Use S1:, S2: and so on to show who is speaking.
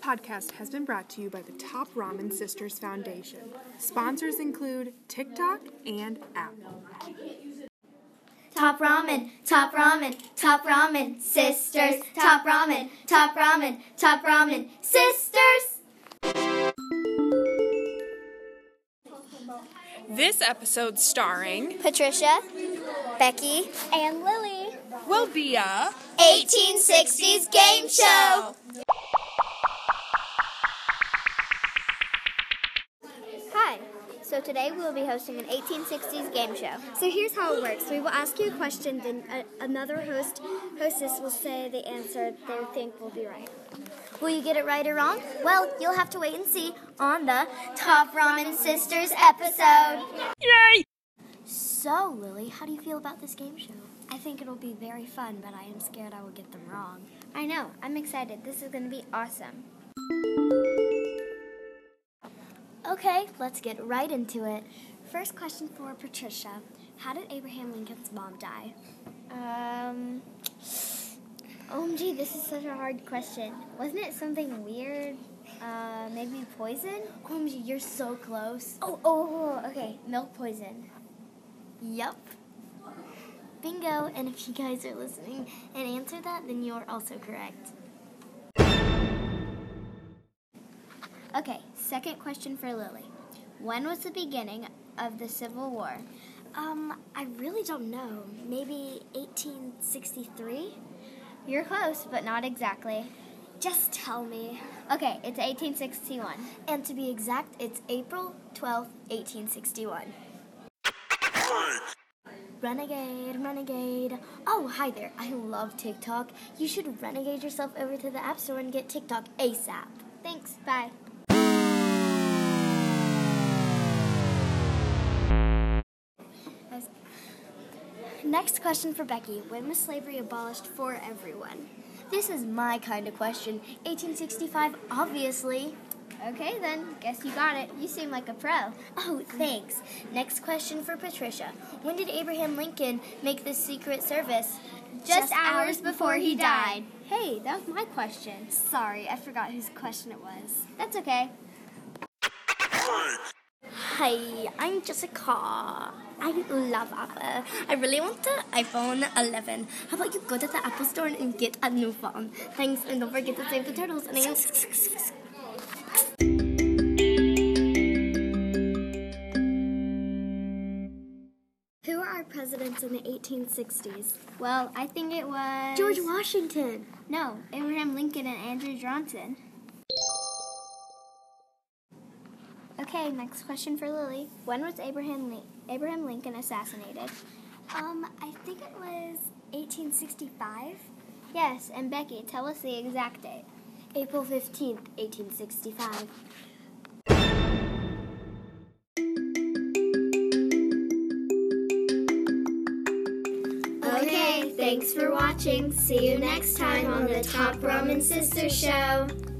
S1: podcast has been brought to you by the Top Ramen Sisters Foundation. Sponsors include TikTok and Apple.
S2: Top ramen, top ramen, top ramen, sisters. Top ramen, top ramen, top ramen, sisters.
S1: This episode starring
S2: Patricia, Becky, and Lily.
S1: will be a
S2: 1860s game show. Hi. So today we will be hosting an 1860s game show.
S3: So here's how it works. We will ask you a question, then a, another host hostess will say the answer they think will be right.
S2: Will you get it right or wrong? Well, you'll have to wait and see on the Top Ramen Sisters episode. Yay! So, Lily, how do you feel about this game show?
S3: I think it'll be very fun, but I am scared I will get them wrong.
S2: I know. I'm excited. This is going to be awesome. Okay, let's get right into it.
S3: First question for Patricia: How did Abraham Lincoln's mom die?
S2: Um. OMG, this is such a hard question. Wasn't it something weird? Uh, maybe poison?
S3: OMG, you're so close.
S2: Oh, oh, oh, okay. Milk poison. Yep. Bingo. And if you guys are listening and answer that, then you're also correct. Okay, second question for Lily. When was the beginning of the Civil War?
S3: Um, I really don't know. Maybe 1863?
S2: You're close, but not exactly.
S3: Just tell me.
S2: Okay, it's 1861.
S3: And to be exact, it's April 12, 1861.
S2: Renegade, renegade. Oh, hi there. I love TikTok. You should renegade yourself over to the App Store and get TikTok ASAP. Thanks. Bye.
S3: Next question for Becky: When was slavery abolished for everyone?
S2: This is my kind of question. 1865, obviously. Okay, then. Guess you got it. You seem like a pro. Oh, thanks. Next question for Patricia. When did Abraham Lincoln make the Secret Service?
S3: Just hours before he died.
S2: Hey, that was my question.
S3: Sorry, I forgot whose question it was.
S2: That's okay. Hi, I'm Jessica. I love Apple. Uh, I really want the iPhone 11. How about you go to the Apple store and get a new phone? Thanks, and don't forget to save the turtles. And I-
S3: Who were our presidents in the 1860s?
S2: well, I think it was
S3: George Washington.
S2: No, Abraham Lincoln and Andrew Johnson. Okay, next question for Lily. When was Abraham Lin- Abraham Lincoln assassinated?
S3: Um, I think it was 1865.
S2: Yes, and Becky, tell us the exact date.
S3: April 15th, 1865.
S2: Okay, thanks for watching. See you next time on the Top Ramen Sister Show.